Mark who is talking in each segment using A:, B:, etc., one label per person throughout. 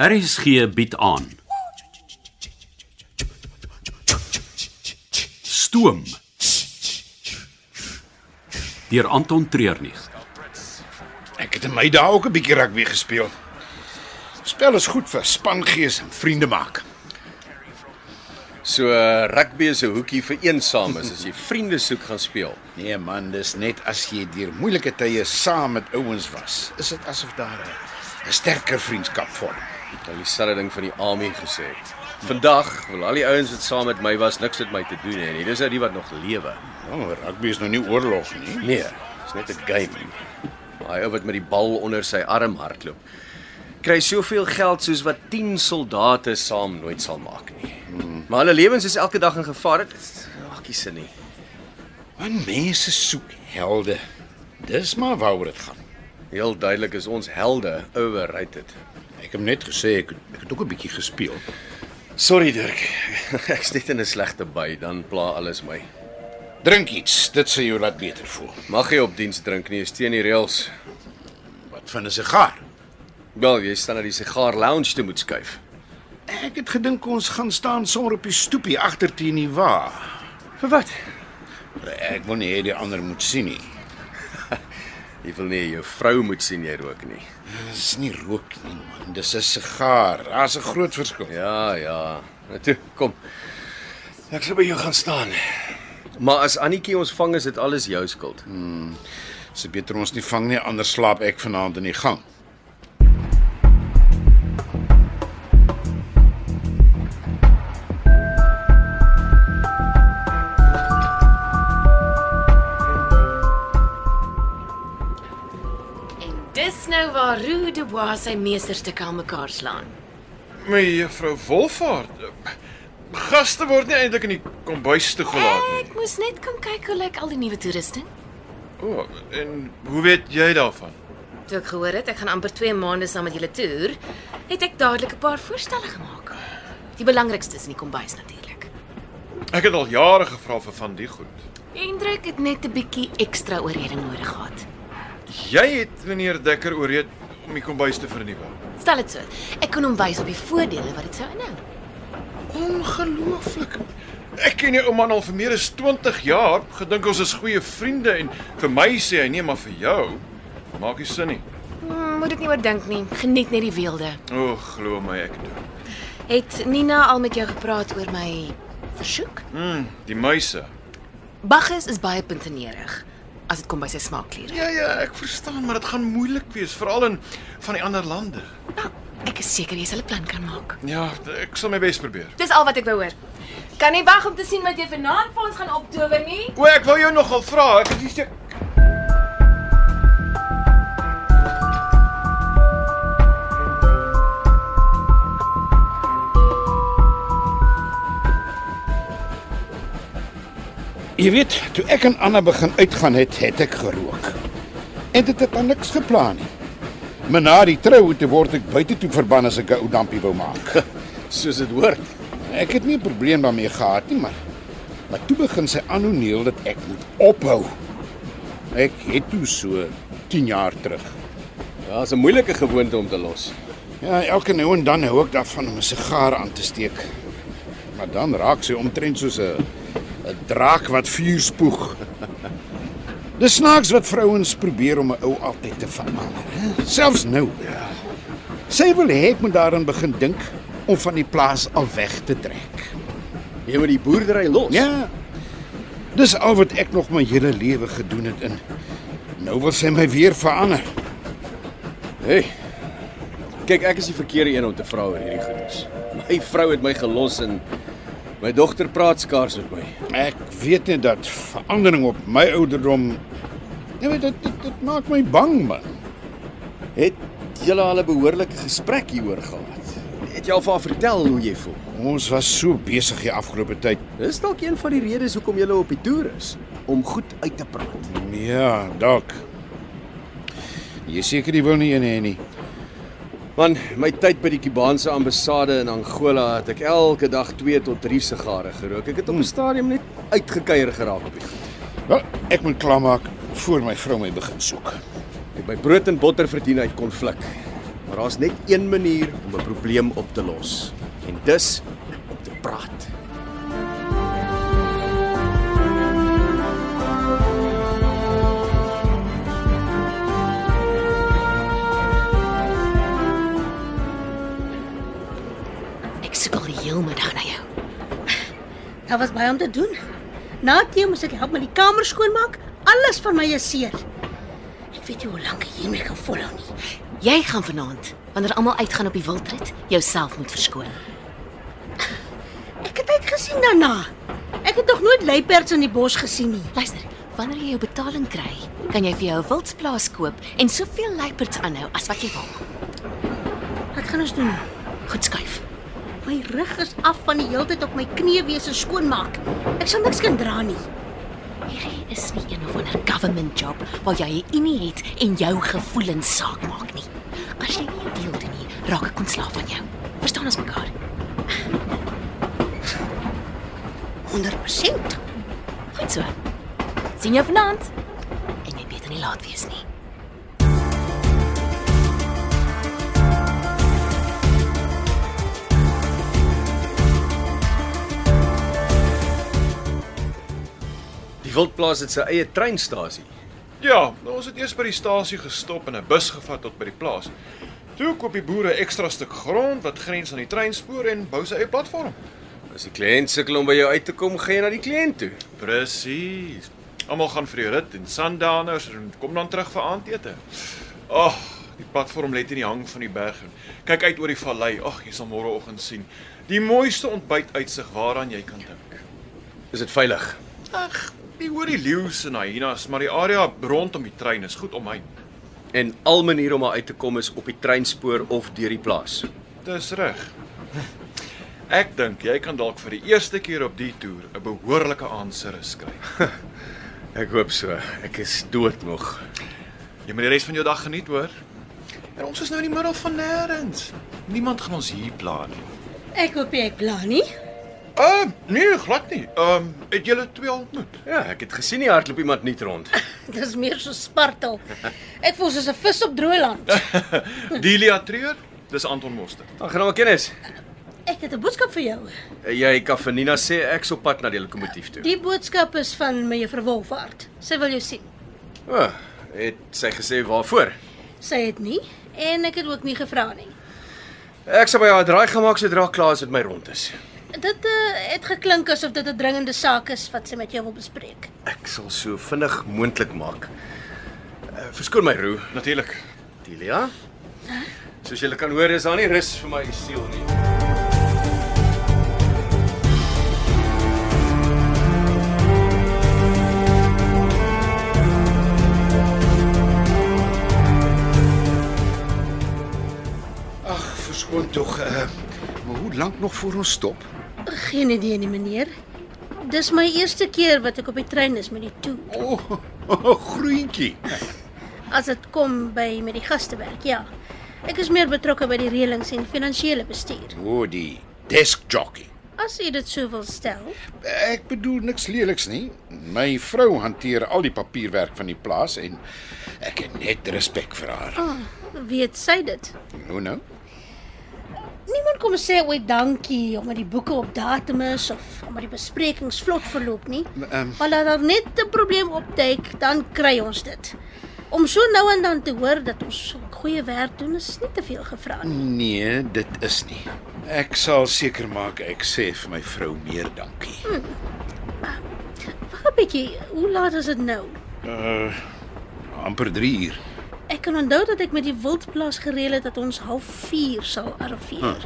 A: RSG bied aan. Stoom. Deur Anton Treurnig.
B: Ek het in my dae ook 'n bietjie rugby gespeel. Spel is goed vir spangees en vriende maak.
C: So eh, rugby is 'n hoekie vir eensames as jy vriende soek gaan speel.
B: Nee man, dis net as jy deur moeilike tye saam met ouens was, is dit asof daar 'n- 'n sterker vriendskap vorm.
C: Ek het al dieselfde ding van die AMI gesê. Vandag wil al die ouens wat saam met my was niks met my te doen hê nie. Dis nou die wat nog lewe.
B: Nou, rugby is nou nie oorlog nie.
C: Nee, dis net 'n game. Maar hy ou wat met die bal onder sy arm hardloop, kry soveel geld soos wat 10 soldate saam nooit sal maak nie. Maar hulle lewens is elke dag in gevaar. Dit maak nie sin nie.
B: Want mense soek helde. Dis maar waaroor dit gaan.
C: Heel duidelik is ons helde overrated.
B: Ek het net gesê ek, ek het ook 'n bietjie gespeel.
C: Sorry Dirk. Ek's net in 'n slegte by, dan pla alles my.
B: Drink iets, dit sal jou laat beter voel.
C: Mag jy op diens drink nie, is teen die reëls.
B: Wat van 'n sigaar?
C: Wel, jy staan na die sigaar lounge toe moet skuif.
B: Ek het gedink ons gaan staan sommer op die stoepie agter teen die wa.
C: Vir wat?
B: Ek wil nie hê die ander moet sien nie.
C: Jy wil nie jou vrou moet sien jy rook nie.
B: Dis nie rook nie man, dis 'n sigaar. Daar's 'n groot verskil.
C: Ja, ja. Nou toe, kom. Ek sal by jou gaan staan. Maar as Annetjie ons vang is dit alles jou skuld.
B: Dis beter ons nie vang nie, anders slaap ek vanaand in die gang.
D: En dis nou waar Roo de Bois sy meesterstukke aan mekaar slaan.
E: My juffrou Wolfaard. Gaste word nie eintlik in die kombuis toegelaat nie.
D: Ek moes net kom kyk hoe lyk al die nuwe toerusting.
E: O, oh, en hoe weet jy daarvan?
D: Toe ek gehoor het ek gaan amper 2 maande saam met julle toer, het ek dadelik 'n paar voorstelle gemaak. Die belangrikste is in die kombuis natuurlik.
E: Ek het al jare gevra vir van die goed.
D: Hendrik het net 'n bietjie ekstra oorreding nodig gehad.
E: Jy het meneer Dekker ooreed om die kombuis te vernuwe.
D: Stel dit so. Ek kon hom wys op die voordele wat dit sou inhou.
E: Ongelooflik. Ek ken jou ouma al vir meer as 20 jaar. Gedink ons is goeie vriende en vir my sê hy nee, maar vir jou maak nie sin nie.
D: Hmm, moet dit nie oordink nie. Geniet net die weelde.
E: O, oh, glo my ek doen.
D: Het Nina al met jou gepraat oor my versoek?
E: Mm, die muise.
D: Bagges is baie puntenerig as dit kom by sy smaakkliere.
E: Ja ja, ek verstaan, maar dit gaan moeilik wees, veral in van die ander lande.
D: Nou, ek is seker jy sal 'n plan kan maak.
E: Ja, ek sal my bes probeer.
D: Dis al wat ek wou hoor. Kan nie wag om te sien wat jy vanaand vir ons gaan optower nie.
E: O, ek wou jou nogal vra, ek het hier
B: Jy weet, toe ek en Anna begin uitgaan het, het ek gerook. En dit het aan niks geplan nie. Maar na die trou toe word ek buite toe verban as ek 'n ou dampie wou maak.
C: Soos dit hoort.
B: Ek het nie 'n probleem daarmee gehad nie, maar maar toe begin sy aanhoeneel dat ek moet ophou. Ek het toe so 10 jaar terug.
C: Ja, dis 'n moeilike gewoonte om te los.
B: Ja, elke nou en dan hou ek daarvan om 'n sigaar aan te steek. Maar dan raak sy omtrent soos 'n 'n draak wat vuur spoeg. Dis snaaks wat vrouens probeer om 'n ou altyd te verander, hè? Selfs nou. Sy wil hê ek moet daaraan begin dink om van die plaas af weg te trek.
C: Jy moet die boerdery los.
B: Ja. Dis al wat ek nog my hele lewe gedoen het in. Nou wil sy my weer verander.
C: Hey. Kyk, ek is die verkeerde een om te vra oor hierdie goedes. My vrou het my gelos en my dogter praat skaars met my.
B: Ek weet net dat verandering op my ouderdom nee, maar dit, dit dit maak my bang man.
C: Het julle al 'n behoorlike gesprek hieroor gehad? Het jy al vir haar vertel hoe jy voel?
B: Ons was so besig die afgelope tyd.
C: Dis dalk een van die redes hoekom jy op die toer is, om goed uit te praat.
B: Ja, dalk. Jy seker jy wil nie een hê nie.
C: Man, my tyd by die Kubaanse ambassade in Angola het ek elke dag 2 tot 3 sigare gerook. Ek het op 'n stadium net uitgekuier geraak op die goed.
B: Wel, ek moet klaarmaak voor my vrou my begin soek.
C: Ek het my brood en botter verdien uit konflik. Maar daar's net een manier om 'n probleem op te los. En dis om te praat.
D: Ek soek al die heelmiddag na jou.
F: Daar was baie om te doen. Na tee moes ek help met die kamer skoonmaak. Alles van my is seer. Ek weet nie hoe lank ek hiermee gaan volhou nie.
D: Jy gaan vanaand, wanneer almal uitgaan op die wildrit, jouself moet verskoon.
F: Ek het uitgesien daarna. Ek het nog nooit luiperds in die bos gesien nie.
D: Luister, wanneer jy jou betaling kry, kan jy vir jou 'n wildsplaas koop en soveel luiperds aanhou as wat jy wil.
F: Wat gaan ons doen?
D: Goed skuif.
F: My rug is af van die heeltyd op my knieë wees en skoonmaak. Ek sal niks kan dra nie.
D: Hierdie is nie een of ander government job waar jy 'n inie het en jou gevoelens saak maak nie. As jy nie jou deel doen nie, raak ek ontslaaf van jou. Verstaan ons mekaar?
F: 100%.
D: Goed so. Sien jou vanaand. En jy weet nie laat wees nie.
C: Die wildplaas het sy eie treinstasie.
E: Ja, nou, ons het eers by die stasie gestop en 'n bus gevat tot by die plaas. Toe koop die boere 'n ekstra stuk grond wat grens aan die treinspoor en bou sy eie platform.
C: As die kliënt sukkel om by jou uit te kom, gaan jy na die kliënt toe.
E: Presies. Almal gaan vir die rit en sandaners en kom dan terug vir aandete. Ag, die platform lê teen die hang van die berg. en Kyk uit oor die vallei. Ag, jy sal môreoggend sien. Die mooiste ontbytuitsig waaraan jy kan dink.
C: Is dit veilig?
E: Ag, jy hoor die leeu's en hyenas, maar die area rondom die trein is goed omheind.
C: En al maniere om daar uit te kom is op die treinspoor of deur die plaas.
E: Dis reg. Ek dink jy kan dalk vir die eerste keer op die toer 'n behoorlike aanserus kry.
C: Ek hoop so. Ek is doodmoeg.
E: Jy moet die res van jou dag geniet, hoor. En ons is nou in die middel van nêrens. Niemand gaan ons hier pla nie.
F: Ek hoop jy pla nie.
E: Ehm, uh, nee, glad nie. Ehm, um, het julle twee ontmoet?
C: Ja, ek het gesien jy hardloop iemand nie rond.
F: Dit is meer so spartel. Ek voel soos 'n vis op droë land.
E: Delia Treur, dis Anton Moster.
C: Dan gaan ons kennis.
F: Ek het 'n boodskap vir jou.
C: Jy kan vir Nina sê ek's op pad na die lokomotief toe.
F: Die boodskap is van mevrou Wolfhard. Sy wil jou sien.
C: O, oh, het sy gesê waarvoor?
F: Sy het nie en ek het ook nie gevra nie.
C: Ek sal by haar 'n draai gemaak sodra klaar is met my rond is.
F: Dit uh, het geklink asof dit 'n dringende saak is wat sy met jou wil bespreek.
C: Ek sal so vinnig moontlik maak. Uh, verskoon my roe,
E: Natuurlik.
C: Delia. Soos julle kan hoor, is daar nie rus vir my siel nie.
B: Ag, verskoon tog. Uh, maar hoe lank nog voor ons stop?
F: Geen idee nie, meneer. Dis my eerste keer wat ek op die trein is met die toer.
B: O, oh, groentjie.
F: As dit kom by met die gastewerk, ja. Ek is meer betrokke by die reëlings en finansiële bestuur.
B: O, die desk jockey.
F: As u dit sou wil stel.
B: Ek bedoel niks leliks nie. My vrou hanteer al die papierwerk van die plaas en ek het net respek vir haar.
F: Oh, weet sy dit?
B: Hoe nou?
F: Niemand kom sê ooit dankie omdat die boeke op datum is of omdat die besprekings vlot verloop nie.
B: ehm.
F: Maar laat daar net 'n probleem opduik, dan kry ons dit. Om so nou en dan te hoor dat ons goeie werk doen is nie te veel gevra nie.
B: Nee, dit is nie. Ek sal seker maak ek sê vir my vrou meer dankie.
F: Wag 'n bietjie, hoe laat is dit nou?
B: Uh amper 3 uur.
F: Ek kan onthou dat ek met die wildplaas gereël het dat ons 04:30 sal arriveer.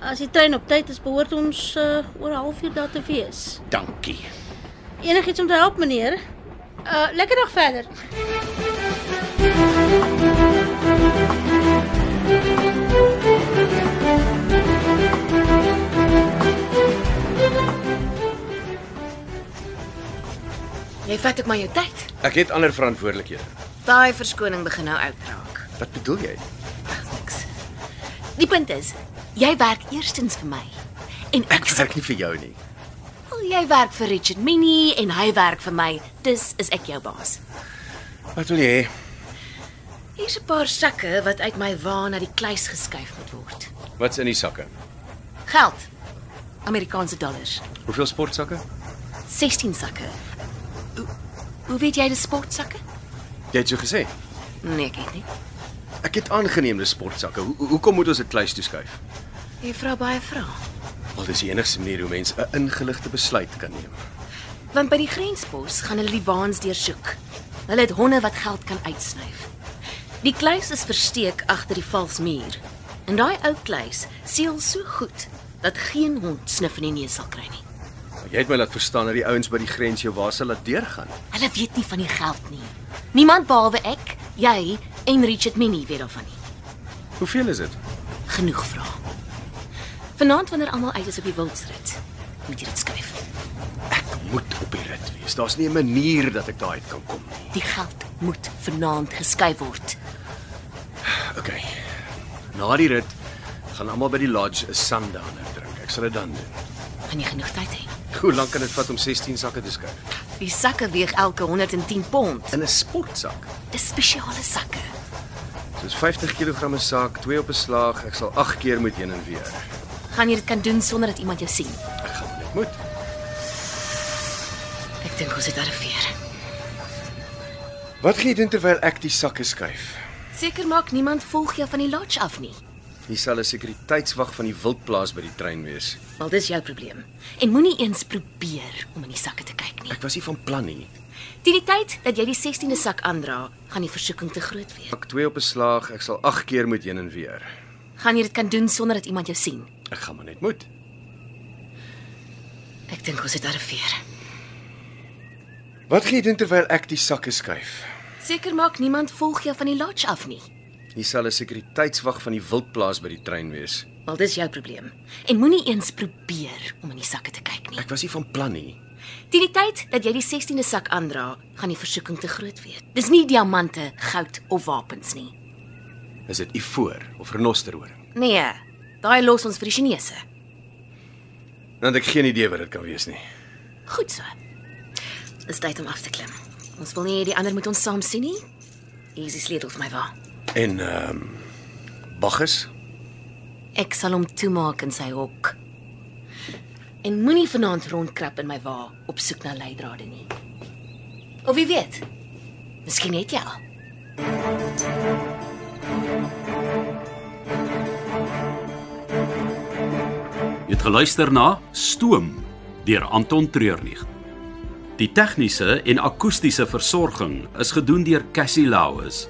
F: As die trein op tyd is, behoort ons uh, oor 'n halfuur daar te wees.
B: Dankie.
F: Enigiets om te help, meneer? Uh, lekker dag verder.
D: Jy vat ook maar jou tyd.
C: Ek het ander verantwoordelikhede.
D: Daai verskoning begin nou oud raak.
C: Wat bedoel jy?
D: Ag, Niks. Die punt is, jy werk eerstens vir my. En ek,
C: Ek werk nie vir jou nie.
D: wil jy werk vir Richard Minnie en hy werk vir my. Dis is ek jou baas.
C: Wat wil jy hê?
D: Hier's 'n paar sakke wat uit my wa na die kluis geskuif moet word.
C: Wat's in die sakke?
D: Geld. Amerikaanse dollars.
C: Hoeveel sportsakke?
D: 16 sakke. Hoe, hoe weet jy dis sportsakke?
C: Jy het so gesê.
D: Nee, ek weet nie.
C: Ek het aangeneem dis sportsakke. Ho ho- hoekom moet ons dit kluis toe skuif?
D: Jy vra baie vrae.
C: Wel, dis die enigste manier hoe mens 'n ingeligte besluit kan neem.
D: Want by die grenspos gaan hulle die waans deursoek. Hulle het honde wat geld kan uitsnyf. Die kluis is versteek agter die valsmuur. En daai ou kluis seël so goed dat geen hond snif in die neus sal kry nie.
C: Maar Jy het my laat verstaan dat die ouens by die grens jou waarse laat deurgaan.
D: Hulle weet nie van die geld nie. Niemand behalwe ek, jy en Richard Minnie weet daarvan nie.
C: Hoeveel is dit?
D: Genoeg vrae. Vanaand wanneer almal uit is op die wildsrit, moet jy dit skryf.
C: Ek moet op die rit wees. Daar's nie 'n manier dat ek daai uit kan kom nie.
D: Die geld moet vanaand geskuif word.
C: OK. Na die rit gaan almal by die lodge 'n sundowner drink. Ek sal dit dan doen.
D: Gaan jy genoeg tyd hê?
C: Hoe lank kan dit vat om 16 sakke te skuif?
D: Die sakke weeg elke 110 pond.
C: In 'n sportsak.
D: Dis spesiale sakke.
C: Soos 50 kg 'n sak, twee op 'n slag. Ek sal 8 keer moet heen en weer.
D: Gaan jy dit kan doen sonder dat iemand jou sien?
C: Ek gaan dit moet.
D: Ek dink ons het arriveer.
C: Wat gaan jy doen terwyl ek die sakke skuif?
D: Seker maak niemand volg jou van die lodge af nie.
C: Hier sal 'n sekuriteitswag van die wildplaas by die trein wees.
D: Wel, dis jou probleem. En moenie eens probeer om in die sakke te kyk nie.
C: Ek was nie van plan nie.
D: Teen die tyd dat jy die 16de sak aandra, gaan die versoeking te groot wees.
C: Ek twee op 'n slag. Ek sal 8 keer moet heen en weer.
D: Gaan jy dit kan doen sonder dat iemand jou sien?
C: Ek gaan maar net moet.
D: Ek dink ons het arriveer.
C: Wat gaan jy doen terwyl ek die sakke skuif?
D: Seker maak niemand volg jou van die lodge af nie.
C: Hier sal 'n sekuriteitswag van die wildplaas by die trein wees.
D: Wel, dis jou probleem. En moenie eens probeer om in die sakke te kyk nie.
C: Ek was nie van plan nie.
D: Teen die tyd dat jy die 16de sak aandra, gaan die versoeking te groot wees. Dis nie diamante, goud of wapens nie.
C: Is dit ivoor of renosterhoring?
D: Nee, daai los ons vir die Chinese.
C: Dan het ek geen idee wat dit kan wees nie.
D: Goed so. Dis tyd om af te klim. Ons wil nie hê die ander moet ons saam sien nie. Hier is die sleutel vir my wa.
C: En ehm um, Bagges,
D: Ek sal hom toemaak in sy hok. En moenie vanaand rondkrap in my wa op soek na leidrade nie. Of wie weet? Miskien het jy al.
A: Jy het geluister na Stoom deur Anton Treurnig. Die tegniese en akoestiese versorging is gedoen deur Cassie Lauis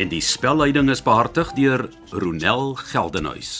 A: en die spelleiding is behartig deur Ronel Geldenhuys.